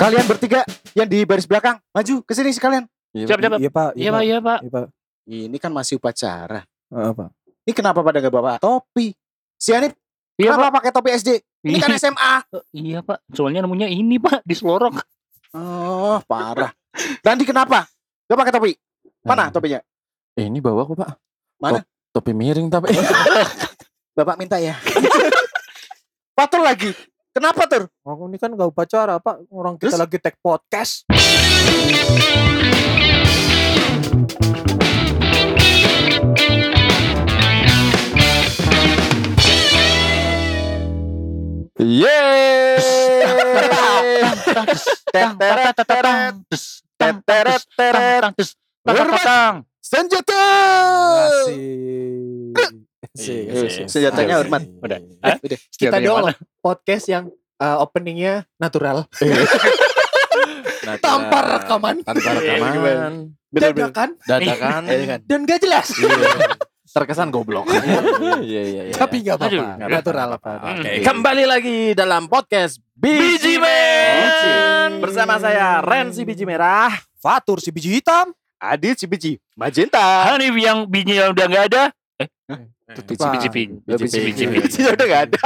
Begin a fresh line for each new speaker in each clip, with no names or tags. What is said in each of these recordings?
Kalian bertiga yang di baris belakang, maju ke sini sekalian.
Siap, siap, Pak.
Iya Pak.
Iya pak, iya pak.
Iya Pak.
Ini kan masih upacara.
Heeh, Pak.
Ini kenapa pada nggak bawa topi? Si Hanif,
Iya pak.
kenapa pakai topi SD? Ini
Iya.
kan SMA.
Iya pak. Soalnya namanya ini pak di Selorok.
Oh, parah. Dandi kenapa? Gak pakai topi. Mana
Nah.
topinya?
Eh, ini bawa kok pak.
Mana?
Top- topi miring tapi.
Bapak minta ya. Patur lagi. Kenapa tur?
Aku ini kan gak upacara Pak. Orang kita
Terus?
lagi tag podcast.
Yeay.
Senjata.
Iya Asik. Asik.
Iya,
asik,
sih.
asik.
Senjatanya
Asik.
hormat.
Udah.
Eh, udah.
Iya,
Kita doang loh, podcast yang uh, openingnya natural.
Nah,
Tanpa
cara-
rekaman.
Tanpa
Iya,
Gimana?
rekaman.
Dadakan
Iya,
Dadakan.
Eh, kan.
dan gak jelas.
Iya. Terkesan goblok. Iya iya iya.
Tapi gak
Aduh,
apa-apa.
nggak
Natural
apa-apa.
Pak.
Oke.
Kembali lagi dalam podcast Biji Men Bersama saya Ren si Biji Merah
Fatur si biji hitam.
Adit si biji magenta.
Hanif Ah, yang bijinya udah nggak ada.
Tutup,
Ah.
Pak.
Pak.
Biji pink.
Biji
Biji
pink.
pink.
Biji udah gak ada.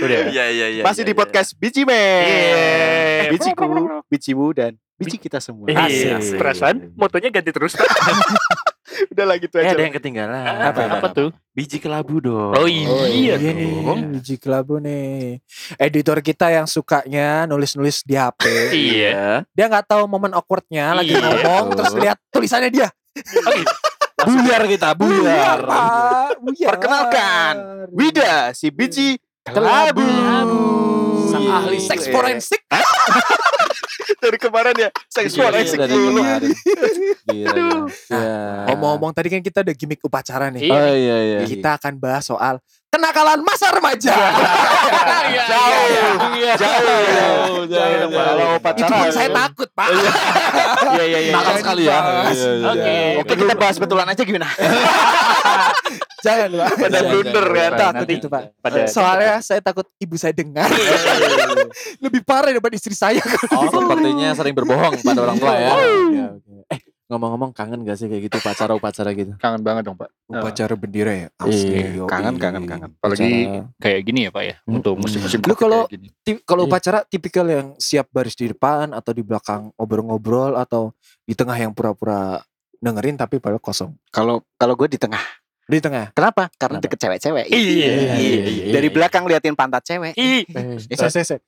Udah.
Iya iya iya
Masih di podcast Biji
Iya.
Men. Bijiku, bijimu dan biji kita semua.
Iya.
Asik, asik.
Perasaan motonya ganti terus.
Udah lagi itu
Eh
aja.
ada yang ketinggalan
Apa, apa tuh?
Biji kelabu dong
Oh iya.
Iya
dong.
nih, biji kelabu nih. Editor kita yang sukanya nulis-nulis di HP.
Iya.
dia nggak tahu momen awkwardnya lagi
Iya.
ngomong terus lihat tulisannya dia.
Buyar kita buyar
Pak. Buyar.
Perkenalkan, Wida si biji
Kelabu.
kelabu.
Sang
Iya.
ahli seks forensik.
Dari kemarin ya seks forensik
Iya,
Iya.
Dari
dulu.
kemarin. Gila,
Aduh.
gila. Ya.
Ngomong-ngomong tadi kan kita udah gimmick upacara nih.
Iya.
Oh iya iya.
Kita akan bahas soal kenakalan masa remaja.
Jauh.
Iya.
Jauh.
Jauh, jauh,
Jangan,
jauh.
kalau pacaran.
Itu pun saya takut, Pak.
Iya iya iya.
Nakal sekali ya.
dibahas.
Iya, iya,
Oke.
iya.
Oke kita bahas betulan aja gimana?
Jangan, Pak.
Pada
Jangan.
blunder kan.
Takut itu, Pak. Eh,
Pada
Soalnya saya takut ibu saya dengar. Lebih parah daripada istri saya.
Oh, sepertinya sering berbohong pada orang tua ya.
Iya.
Oke, oke. Eh, ngomong-ngomong kangen gak sih kayak gitu upacara-upacara gitu?
kangen banget dong pak.
Upacara bendera ya.
Asli, iya.
Kangen kangen kangen.
Apalagi
Upacara.
kayak gini ya pak ya.
Hmm.
Untuk musim-musim.
Lu
Covid
kalau-
kayak gini.
Tip- kalau
Iya.
upacara tipikal yang siap baris di depan atau di belakang obrol-ngobrol atau di tengah yang pura-pura dengerin tapi padahal kosong.
Kalau kalau gue di tengah.
Di tengah.
Kenapa? Karena
Kenapa?
deket cewek-cewek.
Iya.
Iya, iya, iya.
Dari belakang liatin pantat cewek.
Ih.
Eh,
Saya saya saya.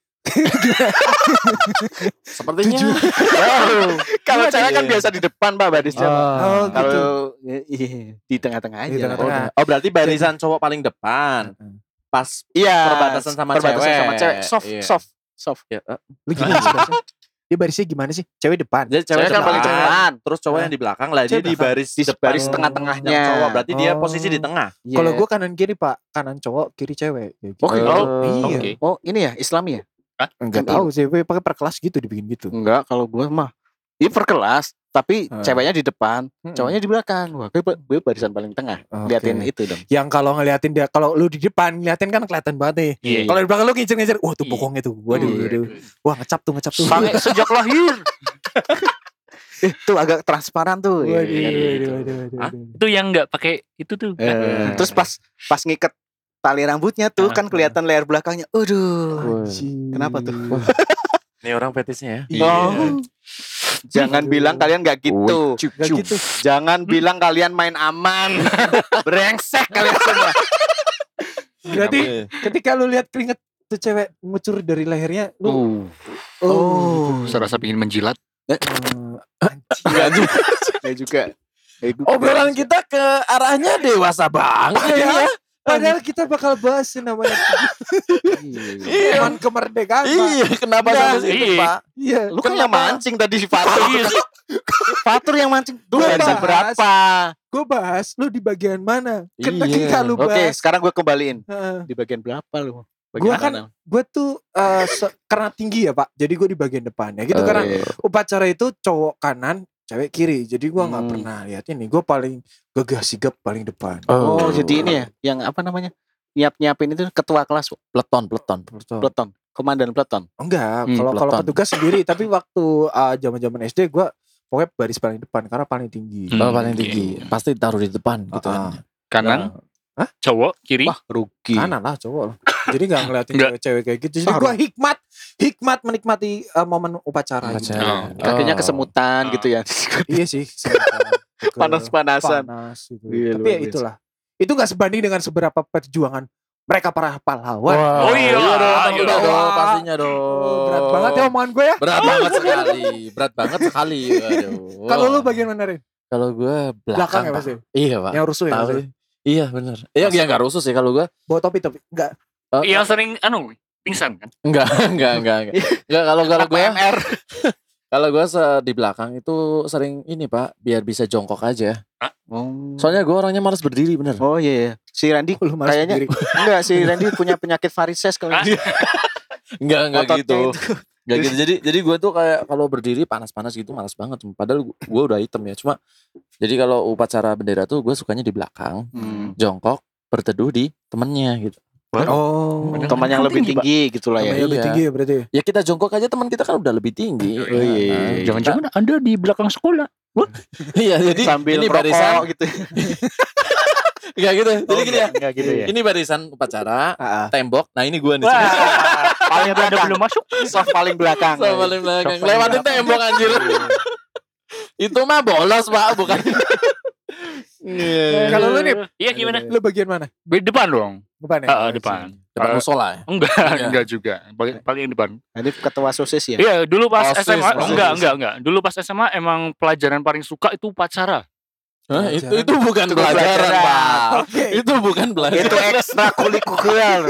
sepertinya
Tujuh.
Kalau
Iya,
cewek kan
iya.
biasa di depan pak barisnya. Pak.
Oh,
Oh,
gitu.
Kalau iya, di tengah-tengah aja.
Di tengah-tengah.
oh, berarti barisan cowok paling depan pas
Iya.
Perbatasan sama
perbatasan
cewek.
sama cewek. Soft,
Iya.
soft, soft.
ya, eh,
Lu gimana sih barisnya? Dia barisnya gimana sih? Cewek depan.
jadi cewek
Cewek kan paling depan.
terus cowok yang di belakang lah dia
Cewek
di
belakang.
baris
Di
depan
baris
yang
tengah-tengahnya.
cowok berarti dia
Oh.
posisi di tengah
Iya.
Kalau gue kanan kiri pak, kanan cowok, kiri cewek. Kayak
Oke.
gitu.
Oh,
iya.
Oke.
Oh ini ya Islami ya?
Enggak
Kan
tahu sih, gue pakai per kelas gitu dibikin gitu.
Enggak, kalau gue mah ini perkelas, tapi
Hmm.
ceweknya di depan,
Mm-mm.
cowoknya di belakang. Wah, gue, gue barisan paling tengah.
Oke.
Liatin itu dong.
Yang kalau ngeliatin dia, kalau lu di depan ngeliatin kan kelihatan banget nih.
Iya.
Kalau di belakang lu ngincer-ngincer, wah tuh
Iya.
bokongnya tuh. Waduh,
Iya.
waduh. Wah ngecap tuh, ngecap tuh.
Sange sejak lahir.
Eh, tuh agak transparan tuh.
Waduh,
Iya, kan
waduh,
gitu.
waduh, waduh,
Hah?
waduh.
Itu yang nggak pakai itu tuh.
Eh, Terus pas pas ngiket tali rambutnya tuh kan kelihatan layar belakangnya. Aduh.
Anjing.
Kenapa tuh?
ini orang petisnya ya
Oh. Jangan
Aduh.
bilang kalian gak gitu.
Gak
Cup.
gitu.
Jangan bilang kalian main aman. Brengsek kalian semua.
Berarti
Eh.
ketika lu lihat keringet tuh cewek ngucur dari lehernya, lu oh.
Uh,
Oh.
serasa pingin menjilat.
Enggak juga. Enggak juga. Eh, gua-
Obrolan kita ke arahnya dewasa banget
Iya.
Padahal, padahal kita bakal bahas yang namanya
Iya.
teman kemerdekaan. Pak.
Iya kenapa
Iya.
sampai situ
Iya.
pak
Iya.
Lu kan yang mancing tadi si Fatur.
Iya sih.
Fatur yang mancing. Tuh
Gua
barisan
bahas.
berapa?
Gue bahas lu di bagian mana? Ketika
Iya.
lu
Oke,
bahas.
sekarang gue kembaliin.
Heeh.
Di bagian berapa lu?
Gua kan Gue tuh eh, se- karena tinggi ya pak, jadi gue di bagian depan ya gitu
Oh,
karena
iya.
upacara itu cowok kanan, cewek kiri. Jadi gue nggak
Hmm.
pernah lihat ini. Gue paling gagah sigap paling depan.
Oh,
iya.
ya, Oh, jadi ini ya yang apa namanya? Nyiap-nyiapin itu ketua kelas
peleton peleton
Betul.
peleton. Komandan peleton.
Enggak,
Hmm,
kalau kalau
peleton.
petugas sendiri tapi waktu ah, zaman-zaman SD gua pokoknya baris paling depan karena paling
Hmm.
tinggi.
Bapak paling tinggi
iya.
pasti taruh di depan gitu
Ah,
kan.
Kanan, cowok, kiri.
Wah, rugi.
kanan lah cowok lah. Jadi nggak ngeliatin
Nggak.
cewek-cewek kayak gitu. Jadi
Taruh.
gua hikmat, hikmat menikmati eh, momen upacara.
Upacara.
Gitu.
Oh.
Kakinya
Oh.
kesemutan
Ah.
gitu ya.
Iya sih. sebentar. Ke-
Panas-panasan.
Panas gitu.
Iya,
Tapi ya
luar biasa.
itulah. Itu nggak sebanding dengan seberapa perjuangan mereka para pahlawan.
Wah,
Oh iya,
dong,
iya
udah
dong.
dong, pastinya dong.
Berat banget ya omongan gue ya.
Berat banget sekali, berat banget sekali. Aduh.
Kalau lu bagian mana Rin?
Kalau gue belakang,
Belakang ya
Pak.
pasti.
Iya pak.
Yang rusuh ya.
Tahu.
pasti.
Iya benar. Iya yang nggak rusuh sih kalau gue.
Bawa topi topi. Enggak.
Yang sering anu pingsan kan.
Enggak, enggak, enggak, enggak. Enggak kalau kalau gue
MR.
kalau gue se- di belakang itu sering ini pak, biar bisa jongkok aja. Soalnya gue orangnya malas berdiri bener.
Oh iya, iya. si Randy
Lu malas
Kayaknya-
sendiri.
enggak si Randy punya penyakit varises kalau gitu.
Ah.
Enggak, enggak
ototnya
gitu.
itu.
Enggak gitu. Jadi jadi gue tuh kayak kalau berdiri panas-panas gitu malas banget. Padahal gue udah hitam ya. Cuma jadi kalau upacara bendera tuh gue sukanya di belakang,
Hmm.
jongkok, berteduh di temennya gitu.
Oh.
Padahal
Teman yang
kan
lebih
tinggi, Pak.
tinggi gitu lah
Temen
ya.
yang lebih
Iya.
tinggi ya berarti. ya?
Ya kita jongkok aja teman kita kan udah lebih tinggi.
Oh, iya, iya, iya.
Jangan-jangan.
Jangan-jangan Anda di belakang sekolah.
Iya, jadi
Sambil
ini
merokok
barisan.
gitu.
Enggak gitu. Jadi gini ya.
Enggak gitu ya.
Ini barisan upacara,
Ah, ah.
tembok. Nah ini gue nih.
Paling Anda belum masuk.
Soft paling belakang. Iya.
Sama paling belakang.
Soft paling
Lewatin
belakang.
tembok anjir. Itu mah bolos pak, bukan. Iya.
Kalau lu nih
Iya gimana?
Lu bagian mana?
Be- Depan dong.
Depan ya?
Ah, ah, depan.
Depan
Eh,
musola ya.
Enggak,
Iya.
enggak juga. Paling paling depan.
Ini ketua sosis ya.
Iya, dulu pas
Osis,
SMA
osis.
enggak, enggak, enggak. Dulu pas SMA emang pelajaran paling suka itu upacara.
Hah, itu, itu bukan
Itu
pelajaran,
pelajaran.
Pak.
Oke.
Itu bukan pelajaran.
Itu ekstra kulikuler.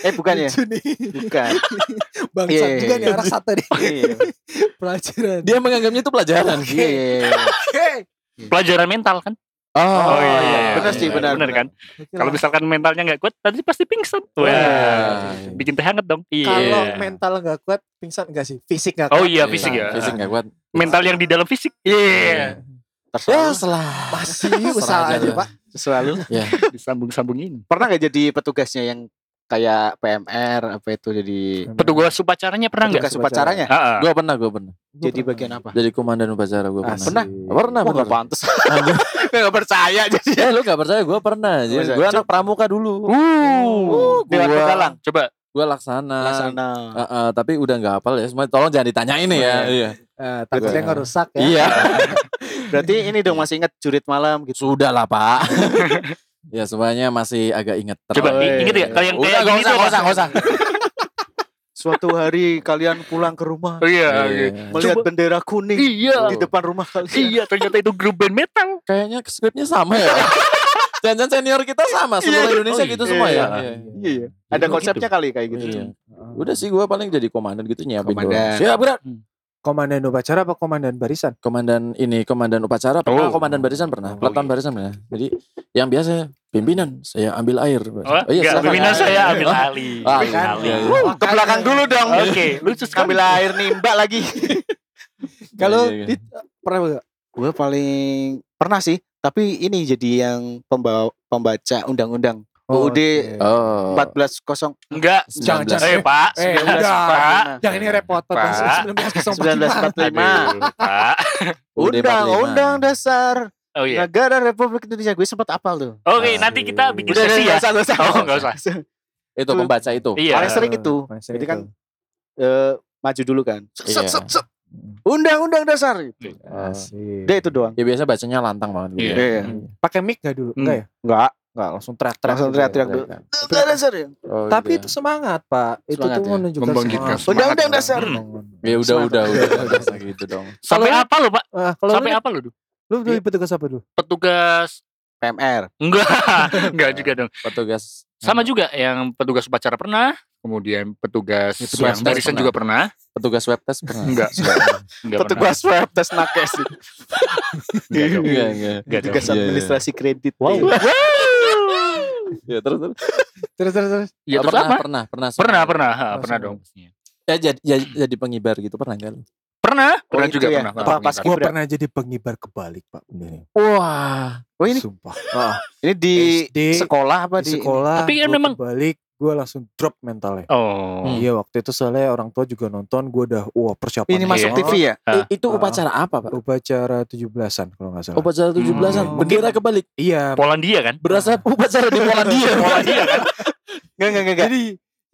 eh bukan ya?
Lucu nih.
Bukan.
Bangsat
Iya, iya,
juga nih
iya.
arah satu nih
Iya.
pelajaran.
Dia menganggapnya itu pelajaran.
Oh,
Iya.
Oke.
Pelajaran mental kan?
Oh, iya, iya.
Benar
Benar
sih, benar. Benar kan?
Oke
Kalau
lah.
misalkan mentalnya nggak kuat, nanti pasti pingsan. Wah. Bikin teh hangat dong. Iya.
kalau
Iya.
mental nggak kuat, pingsan nggak sih? Fisik nggak kuat.
Oh iya, fisik ya.
Fisik nggak kuat.
Mental yang di dalam fisik. Iya.
Ya,
Terserah.
salah.
Masih
Serah
usaha
aja
aja,
lah.
Pak.
Selalu.
Disambung-sambungin.
Pernah nggak jadi petugasnya yang kayak PMR apa itu jadi
Petugas upacaranya pernah nggak?
petugas upacaranya?
Ah, ah.
Gue pernah, gue pernah.
Jadi bagian apa?
Jadi komandan upacara gue pernah.
Asik.
Pernah?
Pernah,
Wah,
pernah.
nggak pantas. Enggak percaya jadi.
Eh lu gak percaya gue pernah
Nggak
Jadi
percaya.
gue anak pramuka dulu
Uh,
Dewan
gua-
Pegalang.
coba
Gue laksana,
Laksana.
Eh, eh, Tapi udah gak hafal ya semua Tolong jangan ditanyain nih ya
Oh,
Iya
Eh, takutnya
Iya.
ngerusak ya.
Iya
Berarti ini dong masih ingat jurit malam gitu.
Sudah lah pak Ya semuanya masih agak inget Terlalu-
coba i- inget ya kalau yang kayak
Udah gak
gini
usah,
tuh Iya,
gak usah,
ada-
gak usah
Suatu hari kalian pulang ke rumah
Oh,
Iya.
iya, iya.
melihat
Coba-
bendera kuning
Iya.
di depan rumah kalian.
Iya, ternyata itu grup band metal.
Kayaknya skripnya sama ya Pak? Jangan-jangan senior kita sama Seluruh
Iya.
Indonesia
Oh,
gitu
iya.
semua ya
Iya.
Iya, iya. Ada
Gitu.
konsepnya kali kayak gitu.
Iya.
Oh.
Udah sih gue paling jadi komandan gitu nyiapin
Komandan.
doang. Siap gerak
Komandan upacara apa komandan barisan?
Komandan ini komandan upacara pernah
Oh.
Komandan barisan pernah
Oh,
Peleton
iya.
barisan pernah Jadi yang biasa Pimpinan saya ambil air
Oh, enggak,
iya, silakan.
pimpinan saya ambil
Ah,
alih.
ah,
Ambil
kan.
alih.
Iya, iya.
Wah, ke belakang dulu dong.
Oke, lucu sekali.
Ambil air nimba lagi.
Kalau
Iya, iya,
Dit, pernah nggak?
Gue paling pernah sih, tapi ini jadi yang pembawa pembaca undang-undang UUD.
oke.
Oh.
14.000
Enggak.
Jangan, jangan.
Eh, Pak.
Eh,
19,
udah.
Nah,
Pak.
Jangan ini repot
Pak.
1945.
1945.
Aduh, Pak.
UUD 45.
Undang-undang dasar
Oh iya.
negara Republik Indonesia. Gue sempat apal tuh.
Oke, nanti kita bikin
Udah, udah,
sesi ya.
nggak usah, nggak usah.
Oh, enggak usah.
Itu pembaca itu.
Iya.
Paling sering itu.
Paling sering
Jadi kan
Oh, itu.
eh, maju dulu kan.
Iya.
Set, set, set. Undang-undang dasar. Gitu.
Asik.
Dia itu doang.
Ya biasa bacanya lantang banget gitu.
Iya.
Iya.
Pakai mic nggak dulu?
Hmm.
Nggak ya?
Enggak.
Enggak, langsung teriak-teriak.
Langsung
gitu ya.
teriak-teriak dulu. Undang-undang dasar ya.
Oh,
Tapi
gitu
itu semangat, Pak. Itu
Semangat
tuh
ya.
menunjukkan
Membangkitkan
semangat.
semangat.
Undang-undang dasar.
ya. ya udah
Semangat.
udah udah udah usah gitu dong.
Sampai
Kalau-
apa lo, Pak?
Ah, kalau lu,
Sampai
Dit,
apa lo, Du?
lu dulu
Iya.
petugas apa dulu?
Petugas
PMR.
Enggak, enggak juga dong.
Petugas
Sama juga yang petugas upacara pernah, kemudian petugas
Ya, petugas
yang barisan
pernah.
juga pernah.
petugas web test pernah?
Enggak. Enggak
Petugas swab tes nakes.
Enggak dong.
Enggak, enggak.
Enggak Iya. dong.
Tugas
Iya, iya.
administrasi kredit.
Wow.
Iya.
Ya terus terus.
Terus terus terus.
Ya,
Iya,
terus
pernah,
apa?
pernah, pernah,
Pernah, pernah, ha,
Langsung.
pernah dong. pastinya.
Ya jadi jadi, jadi pengibar gitu pernah enggak lu?
Pernah, pernah
itu
juga
ya.
pernah.
Apa,
pernah.
pas-
Gua
Kibra.
pernah jadi pengibar kebalik, Pak. Beneran.
Wah.
Oh ini
Sumpah.
ini di
SD,
sekolah apa
di
di,
sekolah
Tapi kan
gua
memang-
kebalik gue langsung drop mentalnya.
Hmm.
Oh.
Iya waktu itu soalnya orang tua juga nonton, gue udah wah persiapan.
Ini masuk
Iya.
TV ya?
Ah.
itu upacara apa pak?
upacara 17-an kalau nggak salah.
Upacara 17-an,
Hmm.
bendera kebalik.
iya.
Polandia kan?
Berasa upacara di Polandia.
Polandia kan?
Enggak, enggak, enggak.
Jadi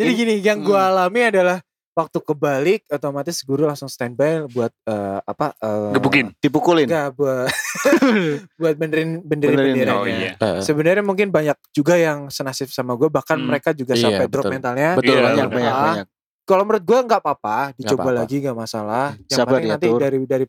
jadi gini yang gue
Hmm.
alami adalah waktu kebalik otomatis guru langsung standby buat eh, apa? eh,
Gebukin.
Dipukulin.
Enggak buat buat benerin benerin,
Benerin,
benderanya.
Oh iya.
Eh,
Sebenarnya mungkin banyak juga yang senasib sama gue bahkan
Hmm.
mereka juga
Iya,
sampai drop
betul.
mentalnya.
Betul,
Iya,
Banyak,
bener.
banyak,
Ah.
banyak.
Kalau menurut gue nggak apa-apa, dicoba
apa-apa.
lagi nggak masalah. Yang
Sabar
penting
ya,
nanti
Tur.
dari dari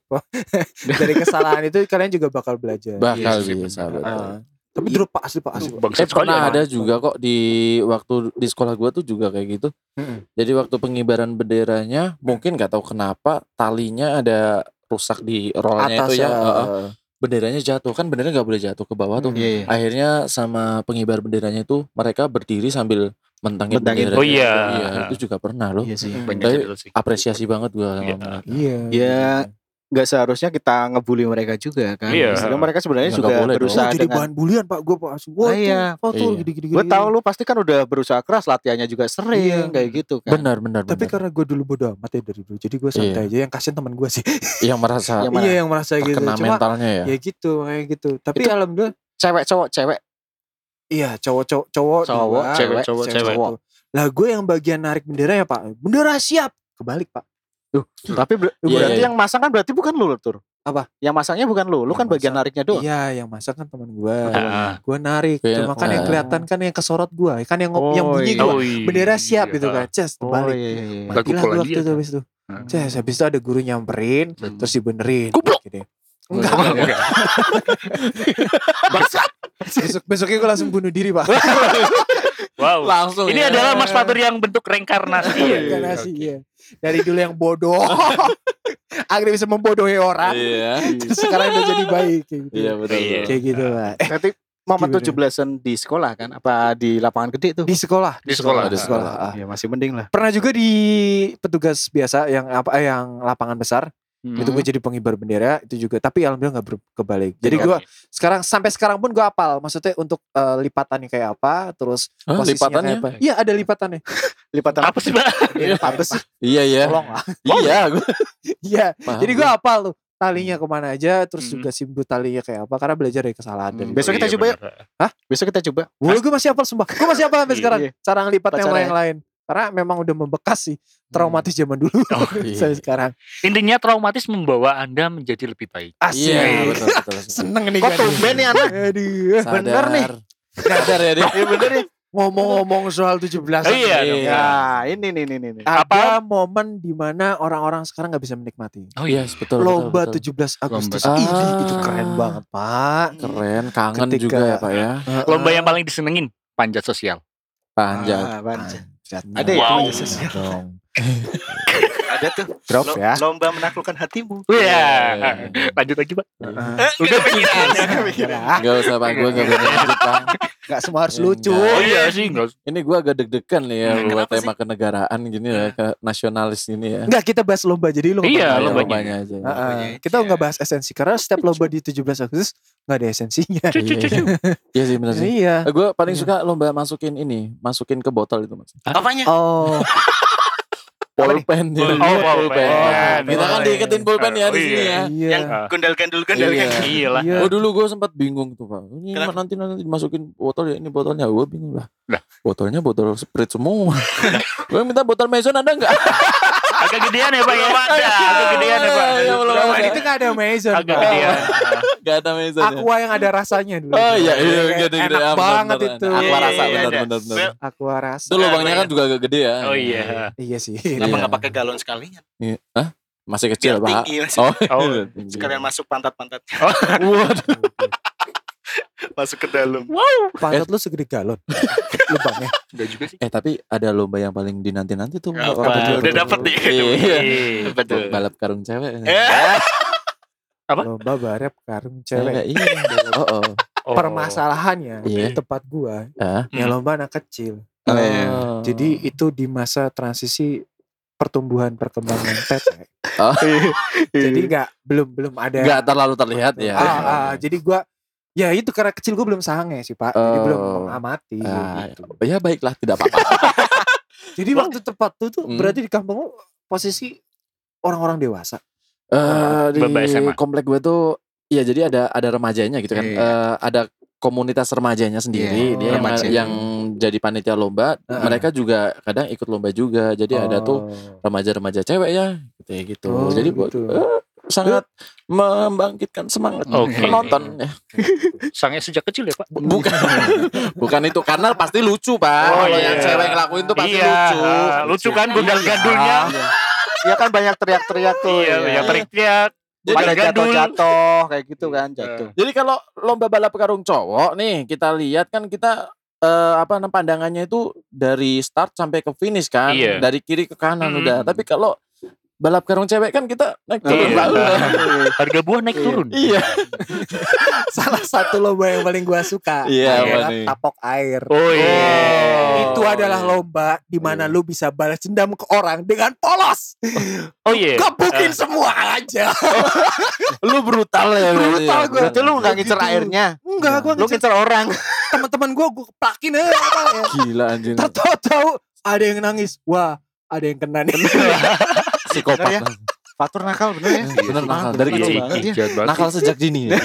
dari kesalahan itu kalian juga bakal belajar.
bakal
Iya, sih,
bisa.
bener.
betul.
Ah. Tapi drop pak asli pak asli. Pak.
Bangsa
Eh pernah ada juga kok di waktu di sekolah gua tuh juga kayak gitu.
Mm-mm.
Jadi waktu pengibaran benderanya mungkin nggak tahu kenapa talinya ada rusak di rollnya
Atas
itu ya.
ya.
Heeh. Benderanya jatuh kan bendera nggak boleh jatuh ke bawah tuh.
Iya,
Ya.
iya.
Akhirnya sama pengibar benderanya itu mereka berdiri sambil mentangin,
Mentangin.
benderanya.
Oh iya.
Iya, itu juga pernah loh.
Iya sih.
banyak
Tapi-
cerita sih.
Apresiasi banget gua sama
Iya.
mereka.
Iya.
Ya nggak seharusnya kita ngebully mereka juga kan.
Iya.
Maksudnya mereka
Ya,
sebenarnya
nggak
sudah
boleh dong.
berusaha
oh, jadi
dengan.
bahan bulian pak gue pak asli. Wah,
Ah, iya.
tuh, oh, tuh,
Iya.
gini-gini.
Gue tahu lu pasti kan udah berusaha keras latihannya juga sering
Iya.
kayak gitu kan.
Benar benar.
Tapi
benar.
karena gue dulu bodo amat ya dari dulu, jadi gue santai aja. Yang kasihan teman gue sih.
yang merasa
Yang mana?
Iya yang merasa gitu.
terkena
Cuma
mentalnya ya.
ya gitu kayak gitu. Tapi
Itu-
alhamdulillah
Cewek cowok cewek.
Iya cowok cowok cowok
Cowok,
dua,
cewek, cowok, cewek.
satu. Lah gue yang bagian narik bendera ya pak. Bendera siap. Kebalik pak.
Hmm. Tapi ber-
Iya,
berarti
iya.
yang masang kan berarti bukan lu tur.
Apa?
Yang masangnya bukan lu. Lu
Yang
kan bagian
masang.
nariknya doang.
Iya yang masak kan teman gue.
Ah.
Gue narik.
Iya,
Cuma kan yang
ah.
kelihatan kan yang kesorot gue. Kan yang
Oh,
ngop yang bunyi
iya.
gue.
iya.
Bendera siap gitu kan. Ces
Oh
kebalik.
iya iya. iya.
Bagus.
Matilah gue
Pukulan
waktu
dia,
itu
kan?
habis itu.
Hmm.
Ces habis itu ada guru nyamperin.
Hmm.
Terus dibenerin.
Goblok.
Gini.
Enggak,
Enggak.
Oh, enggak.
Besok, besoknya gue langsung bunuh diri pak.
Wow.
Langsung.
ya.
Ini adalah Mas Fatur yang bentuk reinkarnasi. ya?
Karena sih, iya. Dari dulu yang bodoh. Akhirnya bisa membodohi orang.
Iya.
Terus sekarang udah jadi baik. Kayak gitu.
Iya betul.
Iya.
Kayak gitu pak.
Nanti momen
Gimana?
17-an di sekolah kan apa di lapangan gede tuh?
di sekolah
Di sekolah.
di sekolah ah.
Ya masih mending lah.
pernah juga di petugas biasa yang apa eh, yang lapangan besar itu gue jadi pengibar bendera itu juga tapi alhamdulillah nggak berkebalik jadi gue sekarang sampai sekarang pun gue apal maksudnya untuk eh, lipatannya kayak apa terus
Hah,
posisinya
lipatannya?
kayak apa iya ada lipatannya
Lipatan
apa sih, Pak?
Bendera kayak
apa sih?
Iya iya.
tolong lah
Iya, gue
iya
paham.
jadi gue apal tuh talinya kemana aja terus
Hmm.
juga simbol talinya kayak apa karena belajar dari kesalahan
Hmm,
dari
besok-
Iya,
kita coba yuk.
bener.
Besok kita coba.
Wah, gue masih apal sumpah gue masih apal sampai
Iya,
sekarang
iya.
cara ngelipat yang
Pacarnya.
lain lain karena memang udah membekas sih traumatis zaman dulu
Oh,
iya.
sampai sekarang
Intinya traumatis membawa Anda menjadi lebih baik.
Asik.
Iya, betul betul.
Seneng nih
Kok
gua
tumben nih anak?
Aduh.
Sadar.
Bener nih.
Sadar ya dia.
Iya bener nih.
Ngomong-ngomong soal 17
Oh, iya dong.
Iya.
Nah, ini nih nih nih. nih.
Ada momen dimana orang-orang sekarang nggak bisa menikmati.
Oh
Iya,
iya.
betul.
Lomba
betul, betul.
17 Agustus.
Lomba.
Ih, itu
Ah.
keren banget, Pak.
keren, kangen
Ketika-
juga ya Pak ya.
Lomba yang paling disenengin panjat sosial.
Panjat.
Ah, panjat.
Ada
Ada ya?
Wow.
Panjat sosial.
Dong.
Ada tuh.
drop
Lo-
ya.
Lomba menaklukkan hatimu.
Iya. Lanjut lagi, Pak. Udah pikiran.
Iya.
Iya.
Gak usah Pak, gue gak punya lanjut Pak.
Gak semua harus lucu.
Enggak.
Oh iya sih, enggak
Ini gue agak deg-degan nih ya
Hmm,
buat
kenapa
tema kenegaraan gini ya, ke nasionalis ini ya.
Enggak, kita bahas lomba jadi lu nggak
Iya,
pernah
Ayo,
tahu.
lombanya.
aja.
Ah, ah.
Lombanya
Kita
aja.
nggak bahas esensi karena setiap lomba di 17 Agustus nggak ada esensinya.
Cucu,
Iya.
cucu.
Iya sih benar sih.
Iya.
Gue paling
Iya.
suka lomba masukin ini, masukin ke botol itu mas.
Apanya?
Oh.
Pulpen ya.
Oh, pulpen.
Kita kan
Pulpen.
diiketin pulpen ya di
Oh,
sini
iya.
ya.
Iya.
Yang gundal gandul gundal
Iya.
gandul.
Iya lah.
Iya.
Oh dulu gue sempat bingung tuh pak. Ini
Kenapa?
nanti nanti dimasukin botol ya ini botolnya gue bingung lah.
Lah.
Botolnya botol sprite semua. gue minta botol meson ada nggak?
Agak gedean ya, Pak ya. Agak gedean ya, Pak.
Iya, belum
Kalau
ada.
itu nggak ada measure.
Agak
Pak.
gedean. Ah.
Gak ada meson. ya.
Aqua yang ada rasanya dulu.
Oh iya iya gede gede.
Enak banget itu.
Aku
Iya,
rasa
iya,
benar
ada.
benar benar.
Well,
Aqua rasa.
Itu lubangnya kan juga agak gede ya.
Oh iya.
Iya sih.
Kenapa
Iya.
nggak pakai galon sekalian?
Iya. Hah? Masih
Biar
kecil pak.
Iya, tinggi. Mas.
Oh,
Oh.
iya, tinggi.
Sekalian masuk pantat-pantatnya.
Waduh.
Masuk ke dalam.
Pantat lu segede galon. Lubangnya.
Enggak juga sih.
Eh tapi ada lomba yang paling dinanti nanti tuh.
Apa?
Orang betul-
Udah
betul-
dapet nih.
Iya.
Betul.
Balap karung cewek.
Eh. Apa?
Lomba barep karung
Cewek
cewek.
iya. Oh oh.
Oh.
Permasalahannya
Iya.
di tempat gua
Ah.
ya lomba anak kecil. Oh, iya.
Iya. Oh.
Jadi itu di masa transisi pertumbuhan perkembangan tete.
Oh.
Jadi nggak belum belum ada.
nggak terlalu terlihat ya.
Ah, ah, jadi gua Ya itu karena kecil gue belum sange sih pak, jadi
Oh.
belum mengamati.
Ah,
gitu.
ya baiklah tidak apa-apa.
Jadi waktu tepat itu tuh
Hmm.
berarti di kampung lu posisi orang-orang dewasa.
Eh, di
Bapak SMA.
komplek gue tuh ya jadi ada ada remajanya gitu kan.
Iya.
Eh, ada komunitas remajanya sendiri
Iya,
dia yang,
remaja.
yang jadi panitia lomba.
Heeh.
Mereka juga kadang ikut lomba juga. Jadi ada tuh remaja-remaja cewek ya gitu ya gitu.
Oh,
jadi gua
gitu.
eh, sangat membangkitkan semangat
Oh, Oke.
penonton ya.
Sangnya sejak kecil ya Pak.
Bukan bukan itu karena pasti lucu, Pak.
Oh,
Kalau yang
iya.
cewek ngelakuin tuh pasti
iya,
lucu. Iya.
ah, lucu kan gundal-gandulnya.
Dia Ah, kan banyak teriak-teriak tuh.
Iya,
ya.
yang teriak-teriak.
Jadi
Pada
Pada gandul.
jatuh-jatuh kayak gitu kan jatuh.
Jadi kalau lomba balap karung cowok nih kita lihat kan kita eh, apa namanya pandangannya itu dari start sampai ke finish kan,
Iya.
dari kiri ke kanan
Mm.
udah. Tapi kalau balap karung cewek kan kita naik
Nah,
turun
Iya.
bawah.
Harga buah naik turun.
Iya.
Salah satu lomba yang paling gue suka
Iya, apa
adalah
nih? iya.
tapok air.
Oh iya.
Oh.
Itu adalah lomba di mana lu bisa balas dendam ke orang dengan polos.
Oh iya.
Eh.
Kebukin semua aja.
Lu brutal ya. berarti ya.
Brutal gue. Itu lu nggak ngincer
Gitu.
airnya.
Enggak, gue
Iya.
Lu ngincer orang.
teman-teman gue gue keplakin aja. apa ya.
Gila anjing.
Tahu-tahu ada yang nangis. Wah, ada yang kena nih.
Psikopat.
Bener ya?
lah.
Fatur nakal bener ya.
Bener nakal
Nakal
dari
banget ya.
kecil.
dia.
Jahat banget. ya.
Nakal sejak dini. ya.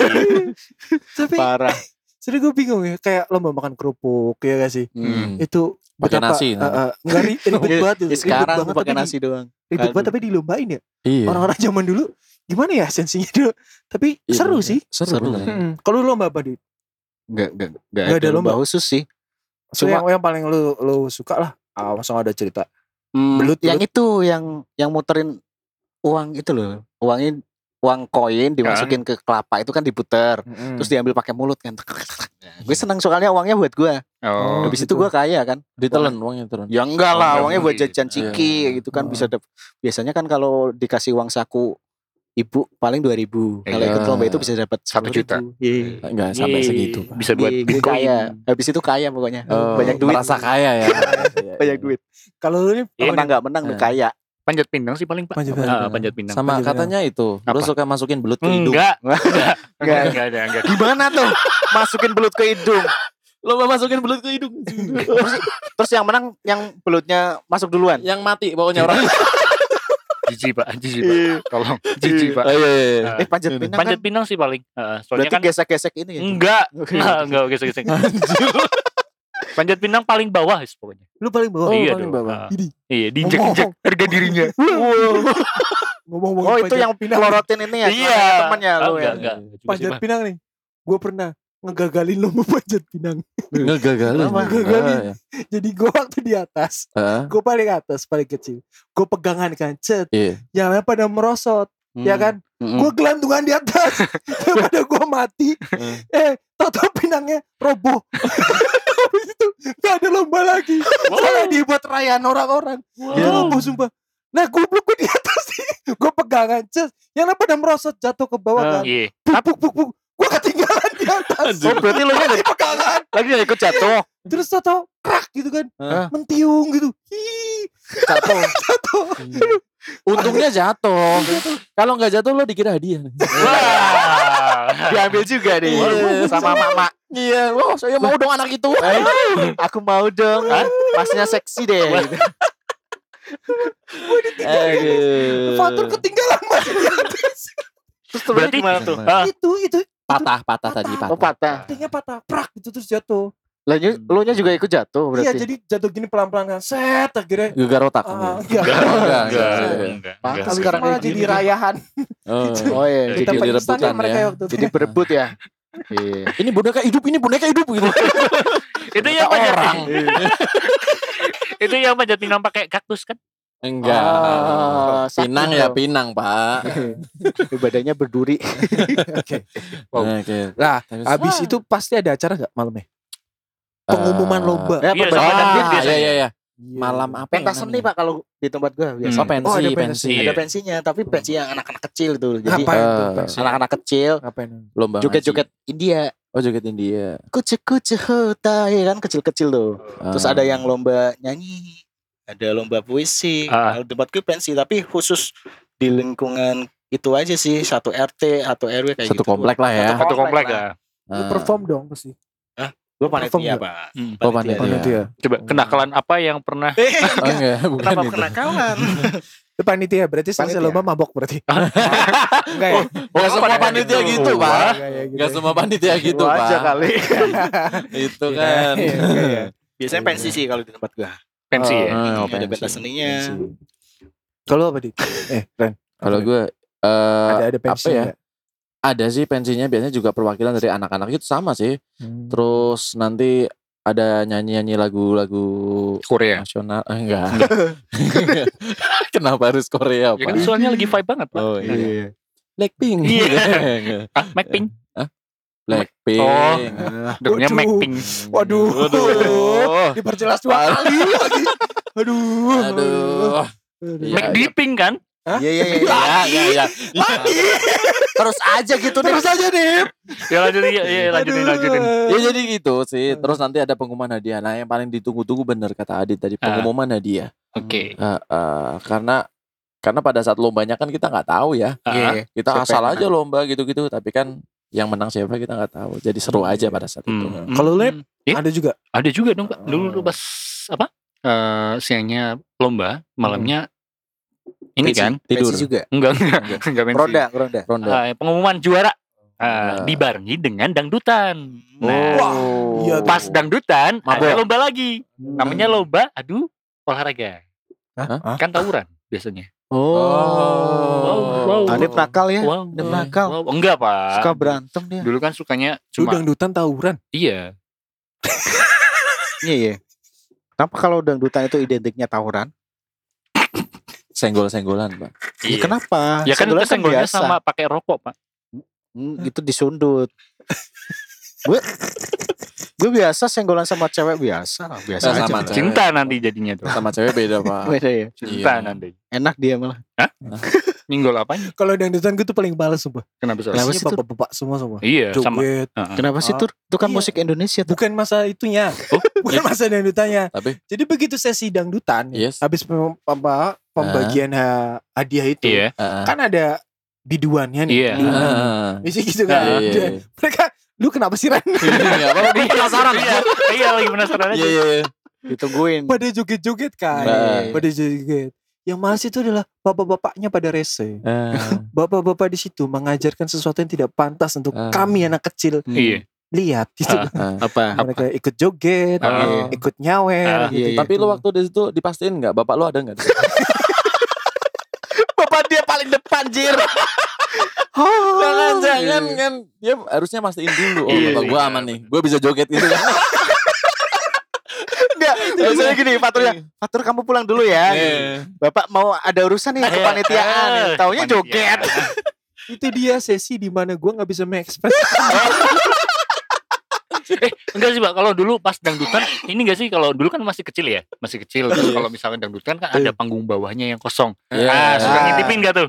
Tapi
Parah.
serius gue bingung ya. Kayak lomba makan kerupuk ya gak sih?
Hmm.
Itu
Pakai
betapa-
nasi. nah.
eh, eh, enggak, ri- ribet
Iya,
banget. itu.
Ya,
Ribet
sekarang
banget,
tuh pakai
tapi di-
nasi doang.
Ribet banget
Aduh.
tapi dilombain ya.
kan. Iya.
Orang-orang zaman dulu gimana ya sensinya dulu. Tapi
Iya,
seru
bener.
sih.
Seru.
Seru.
bener.
Mm-mm. Hmm, Kalau lu lomba apa di?
Enggak enggak enggak
Nggak ada lomba.
khusus sih.
So,
Cuma-
yang, yang paling lu lu suka lah. Ah, langsung ada cerita.
Hmm,
Belut,
yang itu yang yang muterin uang itu loh. Uangnya uang koin
Kan.
dimasukin ke kelapa itu kan diputer.
Hmm.
Hmm.
Terus diambil pakai mulut kan. Nah, gue senang soalnya uangnya buat gue.
Oh.
Habis itu
gitu.
gue kaya kan.
Ditelan uangnya ditelan.
Ya
Oh,
enggak lah,
enggak
uangnya buat
mungkin.
jajan ciki
Iya.
gitu kan
Oh.
bisa dap- biasanya kan kalau dikasih uang saku ibu paling 2000. Kalau
Iya.
ikut lomba itu bisa dapat
Satu
10.000.
juta.
Iya.
Enggak sampai
Yeay.
segitu. Pak.
Bisa buat
Iya, gue
Bitcoin.
kaya. Habis itu kaya pokoknya.
Oh,
banyak duit.
Merasa kaya ya.
Banyak duit.
Kalau lu nih
Iya,
Menang
apa, Dit?
enggak menang udah
Eh.
kaya.
Panjat pinang sih paling Pak.
Panjat
Ah,
pinang.
panjat pinang.
Sama
Panjang-panjang.
katanya itu. Lu
Apa?
suka masukin belut ke hidung.
Enggak.
Enggak.
Enggak. Enggak ada, enggak.
Gimana tuh? Masukin belut ke hidung.
Lu masukin belut ke hidung.
Terus yang menang yang belutnya masuk duluan.
Yang mati pokoknya orang. Oh,
Jijik Pak, jijik Pak. Tolong, jijik Pak.
Iya, iya, iya.
Ah,
Eh panjat pinang
Panjat
kan.
pinang sih paling. Ah, soalnya
Berarti
kan
gesek-gesek ini ya.
enggak. Ah, Enggak, oke, oke, oke. Panjat pinang paling bawah sih pokoknya.
Lu paling
Oh,
bawah.
iya
paling
dong.
bawah.
Ah,
Ini.
iya, diinjek-injek harga dirinya. Iya.
Ngomong-ngomong
Oh itu
panjat
yang
pinang.
pelorotin ini ya.
Iya.
Temannya
Ah,
lu ya.
enggak, enggak. Juga sih,
panjat
Pak.
pinang nih. Gue pernah ngegagalin lomba panjat pinang.
Ngegagalin.
Apa?
Ah,
Ngegagalin.
iya.
Jadi gue waktu di atas,
Ah,
gue paling atas paling kecil. Gue pegangan kan, cet.
Iya.
Yang lain pada merosot,
Hmm.
ya kan?
Mm-mm.
Gue gelantungan di atas. Daripada gue mati. eh, tau-tau pinangnya roboh. Habis itu gak ada lomba lagi. Soalnya dibuat rayaan orang-orang.
Iya.
Itu roboh sumpah. Nah goblok gue di atas sih. Gue pegangan cet. Yang lain pada merosot jatuh ke bawah kan.
Iya.
Puk, puk, puk, puk. Gue ketinggalan di atas.
Oh berarti lu nya
Di pegangan.
lagi nggak ikut jatuh.
Terus tau-tau krak gitu kan.
Hah?
Mentiung gitu. Hi,
Jatuh.
jatuh.
Untungnya jatuh. Kalau nggak jatuh lo dikira hadiah.
Wah.
Diambil juga nih
Iya.
sama mama.
Iya, wow, saya mau dong anak itu.
Aku mau dong.
Hah?
Masnya seksi deh. Gitu. Eh, iya.
Fatur ketinggalan mas.
Terus
Berarti
gimana tuh?
Gimana?
Ah,
itu, gitu. itu.
patah, patah tadi
Patah.
patah.
Oh patah.
Tinggal patah. Prak gitu terus jatuh.
Lah ny- lu nya juga ikut jatuh berarti.
Iya jadi jatuh gini pelan-pelan kan. Set akhirnya.
Gegar otak.
Ah,
enggak,
enggak.
Oh, enggak,
enggak,
enggak.
enggak,
Pantas
enggak.
Habis itu
sekarang
malah
kayak
jadi
gini.
rayahan.
Oh.
Oh iya.
Jadi
Kita
Jadi,
direbutan
penyistaan
ya.
mereka waktu itu.
jadi berebut ya. Iya.
Ini boneka hidup, ini boneka hidup gitu.
Itu yang panjat orang. Itu yang panjat pinang pakai kaktus kan?
Enggak.
Ah, sakit
pinang ya
dong.
pinang, Pak.
Iya. Badannya berduri.
Wow.
Nah,
Terus-
habis
Ah.
itu pasti ada acara nggak malamnya?
Eh,
Pengumuman lomba.
Ya,
Iya,
pembe-
sama dan
Ah,
duit
Ah, iya,
biasanya.
iya, iya. Malam apa?
pentas
ya
seni
namanya?
pak kalau di tempat gua biasa.
Oh, pensi,
Oh, ada pensi.
pensi.
Iya.
Ada pensinya tapi pensi yang anak-anak kecil tuh. Jadi
Ngapain
eh,
tuh? Pes?
anak-anak kecil
Ngapain?
Lomba
joget-joget India.
ngaji. Oh, joget India.
Kucu-kucu huta ya kan kecil-kecil tuh. Terus
Ah.
ada yang lomba nyanyi, ada lomba puisi,
Ah.
kalau debatku pensi tapi khusus di lingkungan itu aja sih satu RT atau RW kayak
satu
gitu.
komplek lah ya.
Satu
Satu komplek
komplek
ya.
Lu
Eh,
perform dong pasti.
Gue
Perform
panitia,
nggak?
Pak.
Hmm.
Oh, panitia.
Panitia.
Coba kenakalan apa yang pernah
Oh, enggak, bukan
Kenapa
itu.
kenakalan?
Itu panitia berarti selesai
Panitia.
lomba mabok berarti. Enggak ya?
Enggak semua
Kenapa
panitia
gitu?
gitu, Pak.
Enggak ya gitu.
Enggak semua panitia gitu,
Lu aja
Pak.
kali.
Itu
Iya,
kan.
iya, iya, iya.
Biasanya pensi sih kalau di tempat gue.
Pensi ya.
Ah,
Ada pentas
pensi.
seninya.
Pensi.
Kalau apa di? Eh, Ren.
Kalau
Apa?
gue eh
ada ada
apa
pensi
ya?
ya?
ada sih pensinya biasanya juga perwakilan dari anak-anak itu sama sih.
Hmm.
Terus nanti ada nyanyi-nyanyi lagu-lagu
Korea.
nasional eh, enggak. Kenapa harus Korea,
Ya kan
Pak?
soalnya lagi vibe banget Pak.
Oh iya. Blackpink.
Iya. Ah, Blackpink.
Blackpink. Hmm.
Oh. Dengarnya
Waduh.
Blackpink.
Waduh.
Waduh.
Diperjelas dua kali lagi. Aduh.
Aduh. Iya,
Black Pink kan? Ah,
Iya, iya, iya.
Iya, iya, iya.
Lagi.
Terus aja gitu deh.
Terus aja deh.
Ya lanjutin ya, ya lanjutin
Aduh.
lanjutin.
Ya jadi gitu sih. Terus nanti ada pengumuman hadiah. Nah yang paling ditunggu-tunggu bener kata Adit tadi
Ah.
pengumuman hadiah.
Oke.
Eh, eh, karena karena pada saat lombanya kan kita nggak tahu ya.
Ah,
Iya, iya.
Kita
Siapa
asal
yang
aja lomba gitu-gitu. Tapi kan yang menang siapa kita nggak tahu. Jadi seru aja pada saat itu.
Hmm.
Kalau lu,
Hmm. Ya,
Ada juga.
ada juga dong Pak. Dulu dulu pas apa? Eh, siangnya lomba, malamnya ini
Pensi.
kan?
Pensi
Tidur.
juga.
Enggak enggak enggak pensi.
Ronda, ronda.
Ronda.
Ah, pengumuman juara Ah,
Ah.
dibarengi dengan dangdutan.
Wah,
Nah,
iya
pas dangdutan
Oh.
ada
Mabok.
lomba lagi. Namanya lomba adu olahraga.
Hah? Hah?
Kan tawuran biasanya. Wow, wow.
Oh.
Adep nakal ya.
Wow.
Adep nakal.
wow. Enggak, Pak.
Suka berantem dia.
Dulu kan sukanya
Lu
cuma
dangdutan tawuran.
iya.
Iya, iya. Kenapa kalau dangdutan itu identiknya tawuran?
Senggol-senggolan pak.
Ya, kenapa?
Ya kan itu
Senggolan
senggolnya
biasa.
sama pakai rokok, Pak.
Hmm, itu disundut. gue gue biasa senggolan sama cewek biasa lah, biasa
Nah,
aja.
sama
lah.
cewek.
Cinta nanti jadinya tuh.
Sama cewek beda pak.
Beda ya.
Cinta
Iya.
nanti.
Enak dia malah.
Minggol apanya?
Kalau dangdutan gue tuh paling males sumpah.
Kenapa salah?
Kenapa
Kenapa
sih, Tur?
bapak-bapak semua semua?
Iya, sama.
Joget.
Kenapa sih
Ah,
tur? Itu kan
iya.
musik Indonesia tuh.
Bukan masa itunya.
Oh,
Bukan masa dangdutannya.
Tapi-
Jadi begitu sesi dangdutan.
Yes.
Habis pem- apa, pembagian ha- hadiah itu.
Iya.
Ah,
Kan ada biduannya nih.
Iya.
ah,
biduan.
ah.
Biasanya gitu kan.
Iya, iya,
Dia- Mereka, lu kenapa sih Ren?
iya. Nggak apa-apa, gue penasaran.
Iya, iya, lagi penasaran aja.
Iya, iya, iya.
Ditungguin.
Pada joget-joget kan.
Iya.
Nah.
Pada joget. Yang males itu adalah bapak-bapaknya pada rese.
Ah,
Bapak-bapak di situ mengajarkan sesuatu yang tidak pantas untuk
Ah.
kami anak kecil
Iya.
lihat gitu.
ah.
Ah.
Hmm. Apa?
Mereka ikut joget,
Iya,
Ah.
ikut
Ah.
nyawer. gitu.
Iya, iya.
Tapi lu waktu di situ dipastiin nggak? Bapak lu ada nggak?
Bapak dia paling depan jir.
Jangan, jangan kan dia harusnya mastiin dulu. Oh,
Iya,
bapak
iya.
gue aman nih. Gue bisa joget gitu kan.
Enggak, biasanya gini Faturnya. Fatur kamu pulang dulu ya. Bapak mau ada urusan nih
Eh,
kepanitiaan. Taunya
kepanitiaan.
joget.
Itu dia sesi di mana gue nggak bisa mengekspres.
Eh, enggak sih, Pak. Kalau dulu pas dangdutan, ini enggak sih kalau dulu kan masih kecil ya? Masih kecil. Terus
Iya.
kalau misalnya dangdutan kan ada panggung bawahnya yang kosong.
Iya.
Ah, suka
Ah.
ngintipin enggak tuh?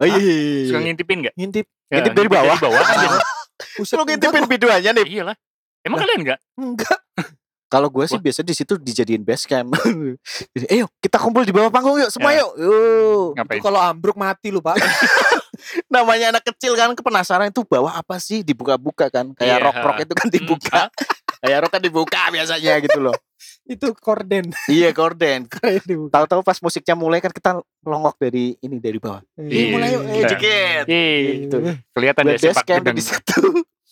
Oh, iya, iya,
Suka
iya.
ngintipin enggak?
Ngintip.
Ya,
Ngintip dari bawah.
bawah kan biasa.
Pusat
Lu ngintipin biduannya nih.
Iyalah. Emang kalian enggak?
Enggak.
Kalau gue sih biasa di situ dijadiin base camp. Jadi, eh, yuk, kita kumpul di bawah panggung yuk, semua
Ya.
yuk. Yuk.
Itu
Ngapain?
kalau ambruk mati lu pak.
Namanya anak kecil kan kepenasaran itu bawah apa sih dibuka-buka kan. Kayak
Iya.
rock-rock itu kan dibuka. Kayak rock kan dibuka biasanya gitu loh.
itu korden.
iya, korden.
Keren di muka.
Tahu-tahu pas musiknya mulai kan kita longok dari ini dari bawah.
Iya.
Yuk, mulai yuk, eh,
Iya.
joget.
Ih,
Gitu.
Eh,
kelihatan
Buat
ya sepak
base camp
pedang.
di situ.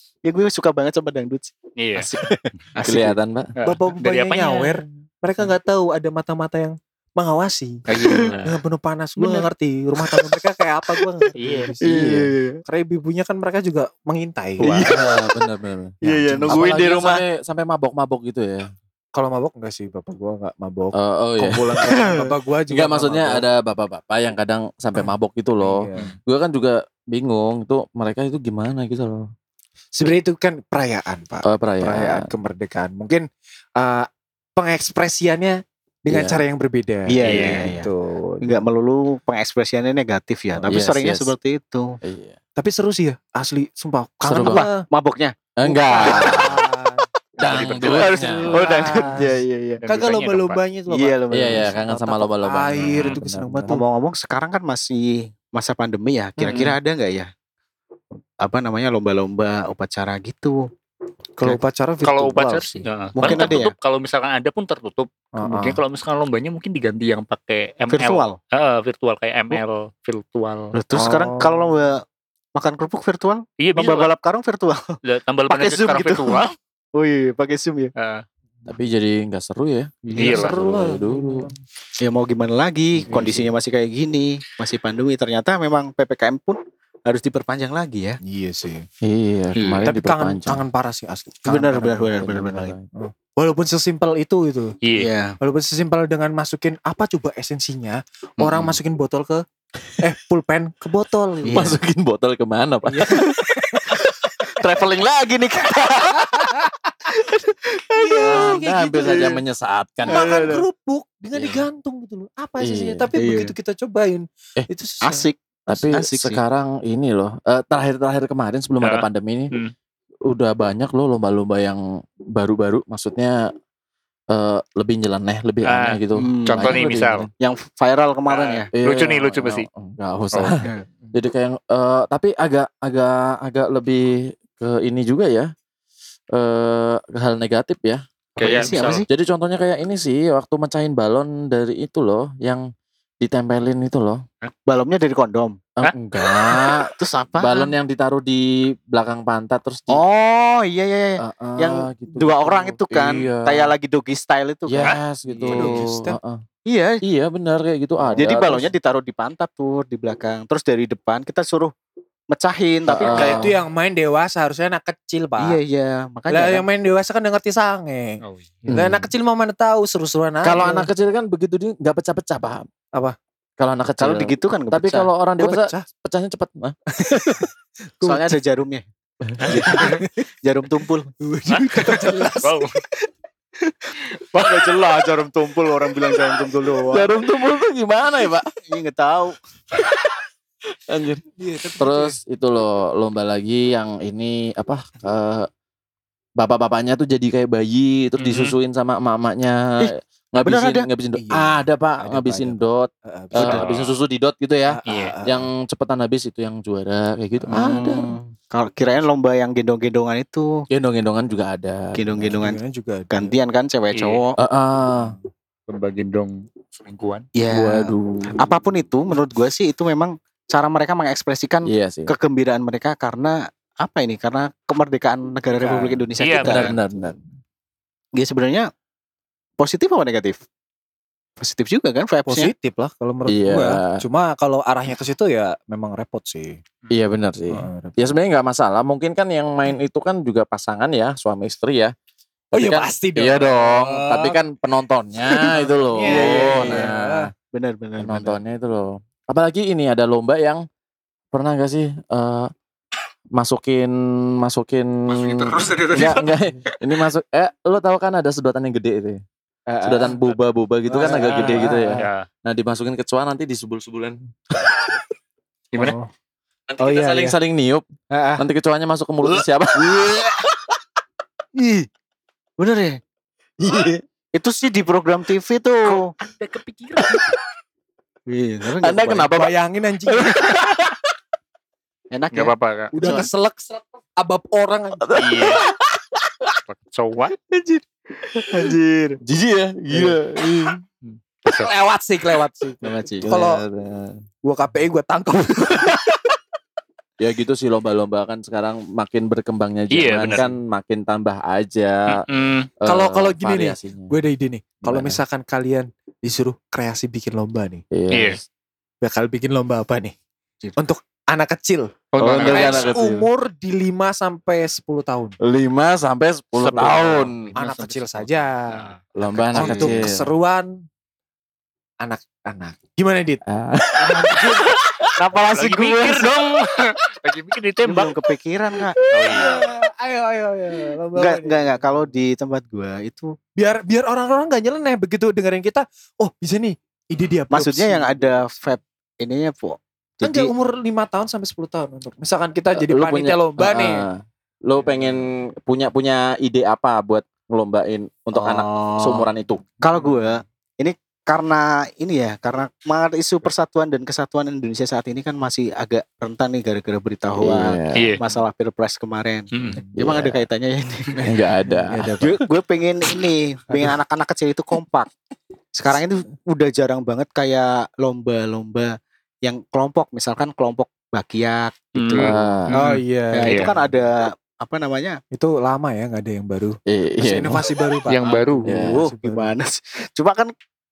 ya gue suka banget sama dangdut. sih.
Iya.
Asik. Asik.
Kelihatan pak.
Dari
Bapak-bapaknya
apanya?
nyawer. Mereka nggak tahu ada mata-mata yang mengawasi. Dengan penuh panas. Gue nggak ngerti rumah tangga mereka kayak apa gue nggak ngerti.
Iya.
Iya.
Karena ibunya kan mereka juga mengintai.
Wah.
Ah, bener bener.
Iya, iya,
Nah,
Apalagi
nungguin di rumah.
sampai- sampai mabok-mabok gitu ya.
Kalau mabok enggak sih bapak gue nggak mabok.
Eh, oh iya.
Kumpulan orang bapak gue juga.
Juga
nggak
maksudnya
mabok.
ada bapak-bapak yang kadang sampai mabok gitu loh.
Hmm.
Iya.
Gue kan juga bingung itu mereka itu gimana gitu loh.
Sebenarnya itu kan perayaan pak.
Oh, perayaan.
perayaan kemerdekaan. Mungkin eh, pengekspresiannya dengan
Iya.
cara yang berbeda.
Iya,
iya,
iya.
Gitu.
Enggak melulu pengekspresiannya negatif ya, tapi
Yes,
seringnya
yes.
seperti itu.
Iya.
Tapi seru sih ya, asli sumpah.
Seru
Kangen
banget. Iya.
apa?
Maboknya.
Enggak.
Harus
ya.
Dangdut.
oh dangdut. Iya, iya, iya.
Kagak lomba-lombanya tuh.
Iya, Nah, lomba.
Iya iya kangen sama
Tatap
lomba-lomba.
air,
itu
Oh,
gue seneng banget tuh.
Ngomong-ngomong sekarang kan masih masa pandemi ya. Kira-kira ada nggak ya apa namanya lomba-lomba upacara gitu.
Kalau upacara virtual
Kalau upacara
sih.
nah, paling
Mungkin ada ya?
tertutup. Kalau misalkan ada pun tertutup. Mungkin
Heeh.
kalau misalkan lombanya mungkin diganti yang pakai ML.
Virtual.
Ah, virtual kayak ML virtual.
Loh, terus
Oh.
sekarang kalau lomba makan kerupuk virtual,
Iya bisa
lomba
lah.
balap karung virtual.
Lah, tambal
Pakai
banyak
Zoom
sekarang
gitu.
virtual.
Oh iya, pakai Zoom ya.
Ah,
Tapi jadi nggak seru ya.
Iya lah.
Seru lah dulu.
Ya mau gimana lagi,
Iya
kondisinya masih kayak gini, masih pandemi. Ternyata memang PPKM pun harus diperpanjang lagi ya.
Iya sih.
Iya,
Iya.
kemarin
Tapi kangen
diperpanjang.
kangen parah sih asli. Kangen
Benar,
parah.
benar, benar, benar, benar.
Walaupun sesimpel itu itu.
Iya.
Iya.
Walaupun sesimpel dengan masukin apa coba esensinya, orang
Mm-mm.
masukin botol ke eh pulpen ke botol. gitu.
Iya.
Masukin botol kemana pak?
traveling lagi nih kita.
Anda
gitu
gitu
hampir saja menyesatkan.
Makan kerupuk dengan
Iya.
digantung gitu loh. Apa esensinya?
Iya.
Tapi
Iya.
begitu kita cobain,
Eh,
itu susah.
Asik.
Tapi
Asik sih.
sekarang ini loh, eh, terakhir-terakhir kemarin sebelum ada
Ya.
pandemi ini,
Hmm.
udah banyak loh lomba-lomba yang baru-baru, maksudnya eh, lebih nyeleneh, lebih
Ah,
aneh gitu.
Hmm.
Contoh
Banyak
nih
loh di-
misal.
Yang viral kemarin ya. Oh, iya.
Iya,
Lucu nih, lucu Oh. pasti.
Nggak usah. Jadi kayak, eh, tapi agak, agak, agak lebih ke ini juga ya, eh, ke hal negatif ya.
Kayak
sih, apa
misal-
sih?
Jadi contohnya kayak ini sih, waktu mecahin balon dari itu loh, yang ditempelin itu loh.
Balonnya dari kondom.
Eh,
Hah?
enggak,
Terus apa?
balon yang ditaruh di belakang pantat terus di
Oh iya iya. iya.
Ah, ah,
yang
gitu,
Dua
gitu.
orang itu kan
Iya.
kayak lagi doggy style itu kan.
yes gitu
Waduh, Kristen.
Ah, ah.
Iya.
iya benar kayak gitu ada
Jadi balonnya
terus-
ditaruh di pantat tuh di belakang. Terus dari depan kita suruh mecahin tapi ya,
Ah.
Lah itu yang main dewasa harusnya anak kecil, Pak.
Iya iya, makanya.
lah
kan.
yang main dewasa kan udah ngerti sange.
Oh, iya.
Hmm.
Lah anak kecil mau mana tahu seru-seruan
kalau
aja.
anak kecil kan begitu dia nggak pecah-pecah paham
Apa?
kalau anak kecil
Kalau digitu kan nggak
tapi
pecah.
kalau orang
Gua
dewasa
pecah.
pecahnya cepet Hah?
soalnya ada jarumnya. jarum tumpul.
Gitu kan. Jelas.
Wow.
Wah, gak jelas jarum tumpul orang bilang jarum tumpul doang.
jarum tumpul tuh gimana ya pak
Ini Iya, nggak tahu.
Anjir.
Iya, tapi
terus itu loh lomba lagi yang ini apa eh, bapak-bapaknya tuh jadi kayak bayi terus
Mm-hmm.
Mhm.
disusuin sama emak-emaknya
Ih,
ngabisin
bener ada?
ngabisin dot
Iya.
ada pak
Ada,
ngabisin
Pak,
dot
kecil. Eh,
eh,
Sudah.
ngabisin susu di dot gitu ya
Iya.
ah, ah.
yang cepetan habis itu yang juara kayak gitu ada
Hmm. Kalau kirain lomba yang gendong-gendongan itu,
gendong-gendongan juga ada
Gitu.
gendong-gendongan
Gendongan juga ada.
gantian kan cewek
Iya.
cowok.
Ah, ah.
Berbagi dong selingkuhan.
Iya.
waduh
Apapun itu menurut gua sih itu memang cara mereka mengekspresikan
iya sih
kegembiraan mereka karena apa ini? Karena kemerdekaan negara
Kan.
Republik Indonesia
Iya,
kita.
benar benar benar
Ya sebenarnya positif apa negatif? Positif juga kan vibes-nya.
positif lah kalau menurut
Iya.
gua. Cuma kalau arahnya ke situ ya memang repot sih.
iya benar sih
Oh.
ya sebenarnya nggak masalah mungkin kan yang main itu kan juga pasangan ya suami istri ya
Oh
Tapi
iya
kan-
pasti dong.
iya dong tapi kan penontonnya itu loh
Iya, iya, iya.
nah
Benar benar. benar.
penontonnya itu loh apalagi ini ada lomba yang pernah gak sih eh, masukin masukin Hmm.
dari
Enggak,
Iya.
enggak. Ini masuk eh lu tahu kan ada sedotan yang gede itu. ya?
Ah,
Eh,
Sedotan boba-boba gitu kan
Ah,
agak gede gitu ya.
Ya.
Nah, dimasukin ke cuan nanti disubul-subulan.
Gimana?
Oh.
Nanti kita
Oh, iya, eh. iya.
saling-saling niup,
Ah, ah.
nanti kecuannya masuk ke mulut siapa?
Ih. Benar ya? itu sih di program TV tuh.
Ada kepikiran.
Iya, tapi nggak
Anda
kebayang.
kenapa, Pak?
Bayangin anjing
Enak
Gak
ya?
apa-apa kak.
udah keselak abab orang anjing.
Iya. Kecoa.
Anjir.
Jijik ya? Gila.
Iya. lewat sih lewat sih.
Kenapa, Ci?
Iya,
Kalau- Gua KPI gua tangkap.
ya gitu sih lomba-lomba kan sekarang makin berkembangnya
Iya,
zaman
benar.
kan makin tambah aja. eh,
Mm.
Hmm. Kalau- kalau gini nih,
variasinya.
Gue ada ide nih. Kalau
Gimana?
misalkan kalian disuruh kreasi bikin lomba nih,
Iya.
Yes.
bakal bikin lomba apa nih? Untuk anak kecil,
Oh,
Oh, enggak,
Dari
enggak.
enggak.
range
anak kecil.
umur di 5 sampai 10 tahun.
5 sampai 10
Sepuluh.
tahun.
Anak kecil saja.
Nah,
Lomba anak
Untuk
kecil.
keseruan anak-anak. Gimana Dit?
Ah.
Kenapa
Lagi mikir dong. Lagi mikir ditembak.
Belum kepikiran, Kak.
Oh, iya.
ayo ayo ayo. lomba
Enggak,
apa nih?
enggak, enggak. Kalau di tempat gua itu
biar biar orang-orang gak nyeleneh begitu dengerin kita oh bisa nih ide dia
maksudnya yang ada vape ininya, Po.
kan dia
Jadi
umur 5 tahun sampai 10 tahun untuk misalkan kita jadi
Eh, Lu
panitia
punya-
lomba nih
Ah, lo pengen punya punya ide apa buat ngelombain untuk anak
Oh.
seumuran itu?
Kalau gua ini karena ini ya karena semangat isu persatuan dan kesatuan Indonesia saat ini kan masih agak rentan nih gara-gara berita hoax
Iya.
masalah pilpres kemarin.
Hmm.
Emang ada kaitannya ya ini?
Enggak ada.
Iya,
gue gue pengen ini pengen anak-anak kecil itu kompak sekarang itu udah jarang banget kayak lomba-lomba yang kelompok misalkan kelompok bakiak gitu
Hmm.
Ah,
Oh iya.
Nah, itu
Iya.
kan ada apa namanya
Itu lama ya nggak ada yang baru.
iya,
Masih
iya.
inovasi baru pak.
Yang baru.
Iya.
oh gimana sih cuma kan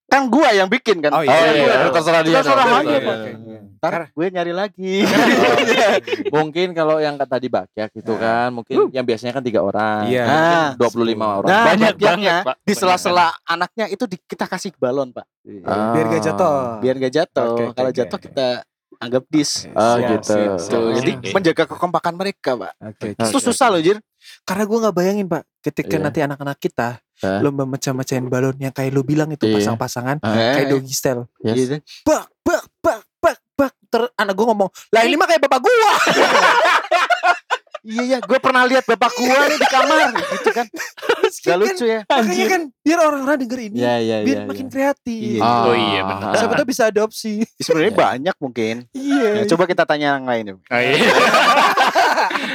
kan gua yang bikin kan
Oh,
Oh
iya.
Gua
iya,
yang
Iya.
terserah dia.
Terserah
dong.
aja, Pak.
Iya.
Ntar gue nyari lagi
Mungkin kalau yang tadi bakyak gitu kan, mungkin yang biasanya kan tiga orang.
Iya.
Nah.
25 orang.
Nah,
Banyak
bakiaknya
banget, Pak.
di sela-sela anaknya itu di- kita kasih balon pak
Ah.
Biar gak jatuh.
biar gak
Oke,
jatuh
oke,
kalau
oke,
jatuh
oke.
kita anggap dis
Ah,
Siap,
gitu.
siap, siap.
Tuh, jadi
Oke.
menjaga kekompakan mereka pak
Oke.
Nah, Oke,
itu susah loh jir
Karena gue nggak bayangin pak, ketika
Iya.
nanti anak-anak kita
Hah?
lomba mecah-mecahin balon yang kayak lu bilang itu
Iya.
pasang-pasangan,
Eh,
kayak doggy style.
Yes.
gitu.
Bak, bak, bak, bak, bak. Ter anak gue ngomong, lah ini mah kayak bapak gua.
Iya iya, gue pernah lihat bapak gua nih di kamar, gitu kan? Gak lucu ya?
Makanya kan biar orang-orang denger ini,
Iya, iya, iya.
biar makin kreatif.
Iya.
Oh, iya, benar.
Siapa tahu bisa adopsi.
Ah.
Sebenarnya
Iya.
banyak mungkin. Ya,
Iya.
coba kita tanya yang lain. yuk.
Ah, iya.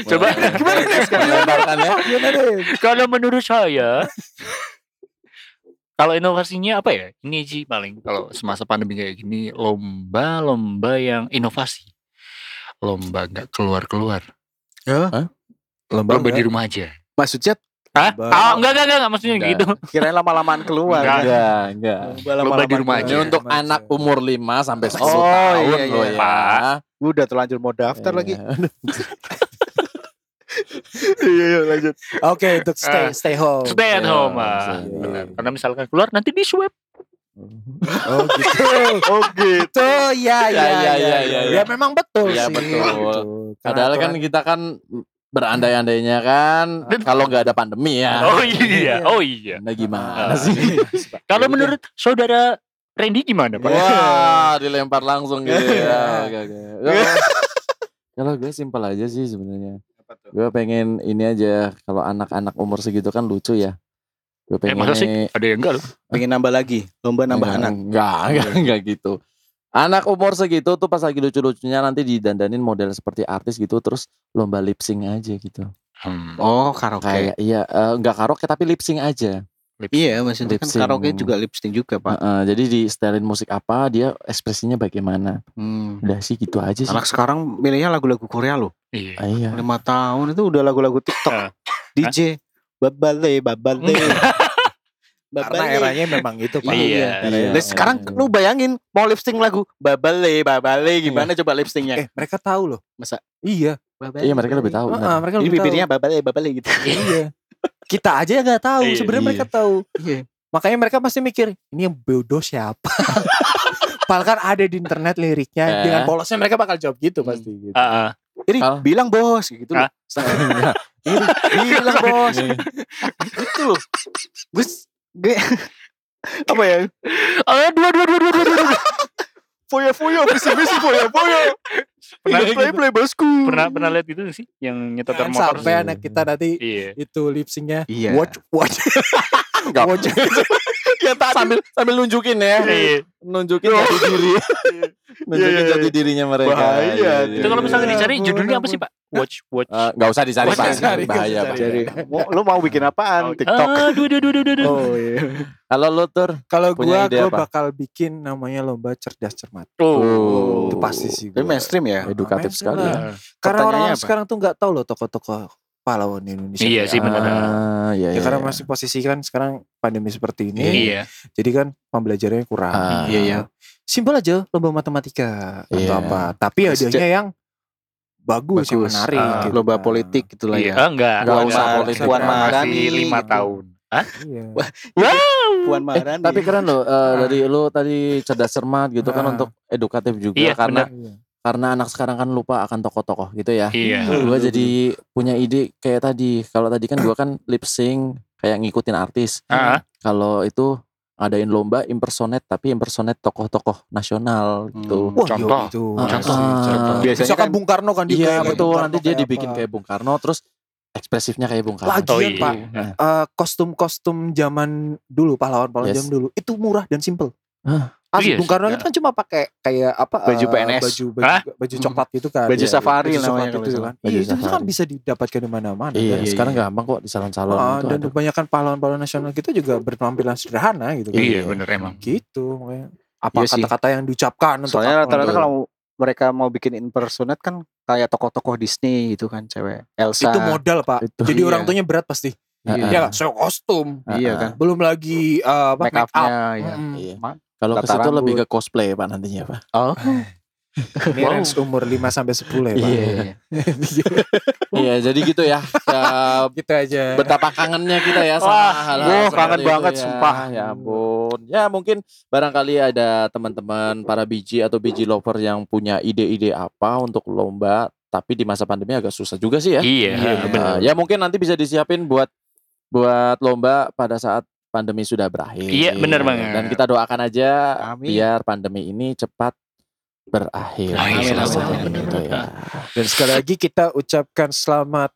Coba
Gimana nih?
Sekarang lebarkan ya.
Gimana iya, deh?
kalau menurut saya kalau inovasinya apa ya? Ini sih paling kalau semasa pandemi kayak gini lomba-lomba yang inovasi. Lomba nggak keluar-keluar. Lomba di rumah aja.
Maksudnya
Hah?
Lomba.
Ah, enggak, enggak, enggak, enggak maksudnya
Enggak.
gitu.
kirain lama-lamaan keluar.
Enggak.
Enggak, enggak.
Lomba di rumah
Iya,
Ini
aja.
Iya. untuk anak umur 5 sampai 10
Oh,
tahun
iya,
loh
iya.
ya.
Gua udah terlanjur mau daftar lagi.
Iya, iya, lanjut.
Oke, untuk stay
Eh.
stay home.
Stay at
Iya,
home.
iya.
ah. Benar. Karena misalkan keluar nanti di swab.
Oh gitu. oh gitu. Ya ya ya ya. Ya,
ya.
memang betul
Iya,
sih.
betul.
Gitu. Karena
Padahal kan
aturan-
kita kan berandai-andainya kan kalau nggak ada pandemi ya.
Oh iya, oh iya.
Nah gimana sih?
Kalau menurut saudara Randy gimana
ya?
pak?
Wah, dilempar langsung gitu ya. Oke, oke. Kalau- Kalau gue simpel aja sih sebenarnya. Gue pengen ini aja kalau anak-anak umur segitu kan lucu ya. Gue
Eh
pengen
masa sih ada yang enggak loh?
Pengen nambah lagi, lomba nambah
Iya.
anak.
Enggak, enggak, enggak gitu. Anak umur segitu tuh pas lagi lucu-lucunya nanti didandanin model seperti artis gitu terus lomba lip sync aja gitu.
Hmm.
Oh karaoke.
Kayak iya eh, enggak karaoke tapi lip sync aja.
Iya maksudnya
Lip
kan
sync.
karaoke juga lipsting juga pak.
Heeh, jadi di setelin musik apa dia ekspresinya bagaimana.
Hmm.
Udah sih gitu aja sih.
Anak sekarang milihnya lagu-lagu Korea loh.
Iya.
Ah, iya.
Lima tahun itu udah
Ah.
lagu-lagu TikTok. DJ babale babale.
karena eranya memang itu Pak.
Iya.
Nah, sekarang
iya.
lu bayangin mau lipsting lagu babale babale gimana coba lipstingnya?
Eh, mereka tahu loh.
Iya. Masa?
Iya.
Iya mereka lebih tahu.
Heeh,
benar.
mereka
Jadi
lebih tahu.
bibirnya babale babale gitu.
Iya. Kita aja nggak tahu,
Iya.
sebenarnya
Iya.
mereka tahu.
Iya.
Makanya mereka pasti mikir, ini yang bodoh siapa? Padahal kan ada di internet liriknya
Eh.
dengan polosnya mereka bakal jawab gitu pasti gitu.
Ah, ah.
Jadi
Kalau-
bilang bos gitu loh. Iri, bilang bos gitu loh. Gue gue apa ya?
Ah, dua, dua, dua, dua, dua, dua.
Foya foya visi visi foya foya.
Pernah
Ingat
Iya,
gitu.
play play bosku.
pernah pernah lihat itu nggak sih yang nyetor
Jangan
motor
sampai
sih?
anak kita nanti
iya
itu lipsingnya
Iya.
watch watch
Enggak.
watch
Ya, tadi. sambil sambil nunjukin
Eh.
ya.
Iya.
Nunjukin jati diri. nunjukin
Iya, iya,
jati dirinya mereka.
Bahaya
Iya, iya,
itu kalau
iya.
misalnya dicari
ampun,
judulnya apa
ampun.
sih pak watch watch
Eh, nggak usah dicari
Nggak usah
Pak.
dicari, nggak
bahaya
usah
Pak.
Jadi mau- lu mau bikin apaan kan TikTok?
ah dua dua dua dua dua oh,
Oh iya.
Halo lu tur.
Kalau
Punya
gua
ide
gua
apa?
bakal bikin namanya lomba cerdas cermat. Itu pasti sih
Tapi
gua.
mainstream ya.
Edukatif
Main
sekali.
lah.
ya.
Ah,
Karena
Pertanyaannya
orang
apa?
sekarang tuh nggak tahu loh tokoh-tokoh pahlawan Indonesia.
Iya sih, benar.
Ah, iya,
Ya,
iya.
karena masih posisi kan sekarang pandemi seperti ini.
iya
Jadi kan pembelajarannya kurang.
Ah.
Iya, iya.
Simpel aja lomba matematika atau
Iya.
apa. Tapi
Sejak-
hadiahnya yang bagus, yang
Bagus.
menarik.
Ah,
gitu.
Lomba politik gitu lah
iya
ya.
ah, enggak
Nggak
Enggak
usah
usah.
politik.
Puan
Masih
Maharani lima
gitu.
tahun
Iya.
Wah.
Eh,
Puan Maharani.
tapi keren loh eh, dari lu tadi cerdas cermat gitu kan
Ah.
untuk edukatif juga
Iya,
karena
Iya.
karena anak sekarang kan lupa akan tokoh-tokoh gitu ya.
iya
Gua jadi punya ide kayak tadi. Kalau tadi kan gua kan lip sync kayak ngikutin artis.
ah
Kalau itu adain lomba impersonate tapi impersonate tokoh-tokoh nasional gitu.
Wah,
Contoh.
yo, itu.
Ah,
Pasti,
ah.
contoh.
Hmm. Biasanya
Misalkan
kan-
Bung Karno kan dia
Iya
kayak
betul.
Bung Karno
Nanti dia
kayak
dibikin
apa.
kayak Bung Karno terus ekspresifnya kayak Bung Karno.
Lagian,
oh iya
Pak.
Nah,
Eh, kostum-kostum zaman dulu pahlawan-pahlawan
Yes.
zaman dulu itu murah dan simple. Asli
Iya
Bung Karno
sih,
itu kan cuma pakai kayak apa
Baju
eh,
PNS.
baju baju,
Hah?
baju coklat gitu kan.
Hmm. Baju
Iya,
safari
baju
namanya
coklat
kalau
gitu
nggak
kan.
salah.
Iya,
Baju
itu kan
safari.
bisa didapatkan di mana-mana.
Iya,
kan.
sekarang gampang kok di salon-salon
Ah,
itu
dan
ada.
kebanyakan pahlawan-pahlawan nasional kita juga berpenampilan sederhana gitu. kan.
Iya bener emang.
Gitu makanya. Apa
Iya sih.
kata-kata yang diucapkan untuk
Soalnya
apa,
rata-rata
gitu.
kalau mereka mau bikin impersonate kan kayak tokoh-tokoh Disney gitu kan cewek. Elsa.
itu modal, Pak.
Itu.
Jadi
Iya.
orang tuanya berat pasti.
Iya.
Ya, saya kostum.
Iya kan.
Belum lagi eh, apa Hmm.
Make upnya ya.
Mm-mm.
Iya.
Ma-
Kalau ke situ
Tata rambut.
lebih ke cosplay Pak nantinya Pak.
Oh.
Ini
Wow.
range umur 5 sampai 10 ya, Pak.
Iya. Iya, jadi gitu ya. Ya,
Gitu aja.
betapa kangennya kita ya sama
Wah,
hal-hal
gua
seperti
kangen
itu
banget,
ya.
sumpah.
ya ampun ya mungkin barangkali ada teman-teman para biji atau biji lover yang punya ide-ide apa untuk lomba tapi di masa pandemi agak susah juga sih ya
Iya
Nah,
bener.
ya mungkin nanti bisa disiapin buat buat lomba pada saat pandemi sudah berakhir
Iya, bener banget.
dan kita doakan aja
Amin.
biar pandemi ini cepat berakhir
Amin,
amin, amin,
bener,
Gitu ya.
Dan sekali lagi kita ucapkan selamat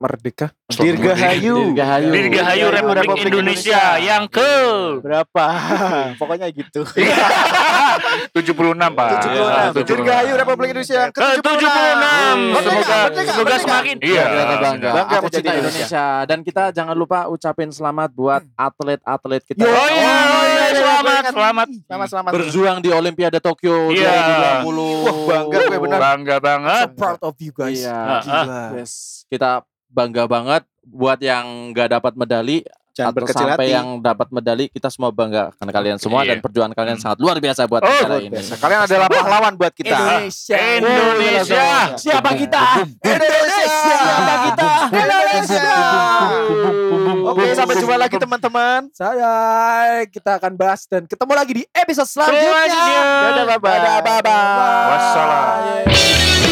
merdeka.
Dirgahayu.
Dirgahayu.
Dirgahayu Republik Indonesia yang ke
Berapa? Pokoknya gitu.
76 pak. Ah,
76. Dirgahayu Republik Indonesia yang
Ke 76. Semoga
Merdeka,
semoga
merdeka.
semakin.
Iya, kita bangga.
Bangga gitu. Iya.
Aku
menjadi
cinta Indonesia.
Indonesia.
Dan kita jangan lupa ucapin selamat buat
Hmm.
atlet-atlet kita.
Oh iya,
Oh,
oh iya,
iya,
selamat,
iya.
selamat.
Selamat selamat.
Berjuang di Olimpiade Tokyo
Iya.
2020.
Wah, bangga gue benar.
Bangga banget.
So proud of you guys.
Iya.
Gila.
Yes, Kita bangga banget buat yang nggak dapat medali
Jangan
atau
berkecil
sampai
hati.
yang dapat medali kita semua bangga karena kalian semua
Iya.
dan perjuangan kalian sangat luar biasa buat
Oh,
negara
Luar
ini.
biasa. Kalian adalah pahlawan buat kita.
Indonesia.
Oh, Indonesia.
Siapa kita?
Indonesia.
Siapa kita?
Indonesia. Oke, sampai jumpa lagi teman-teman.
Saya kita akan bahas dan ketemu lagi di episode selanjutnya.
Selanjutnya.
Dadah, bye-bye.
Dadah, bye-bye.
Wassalam.
Yeay.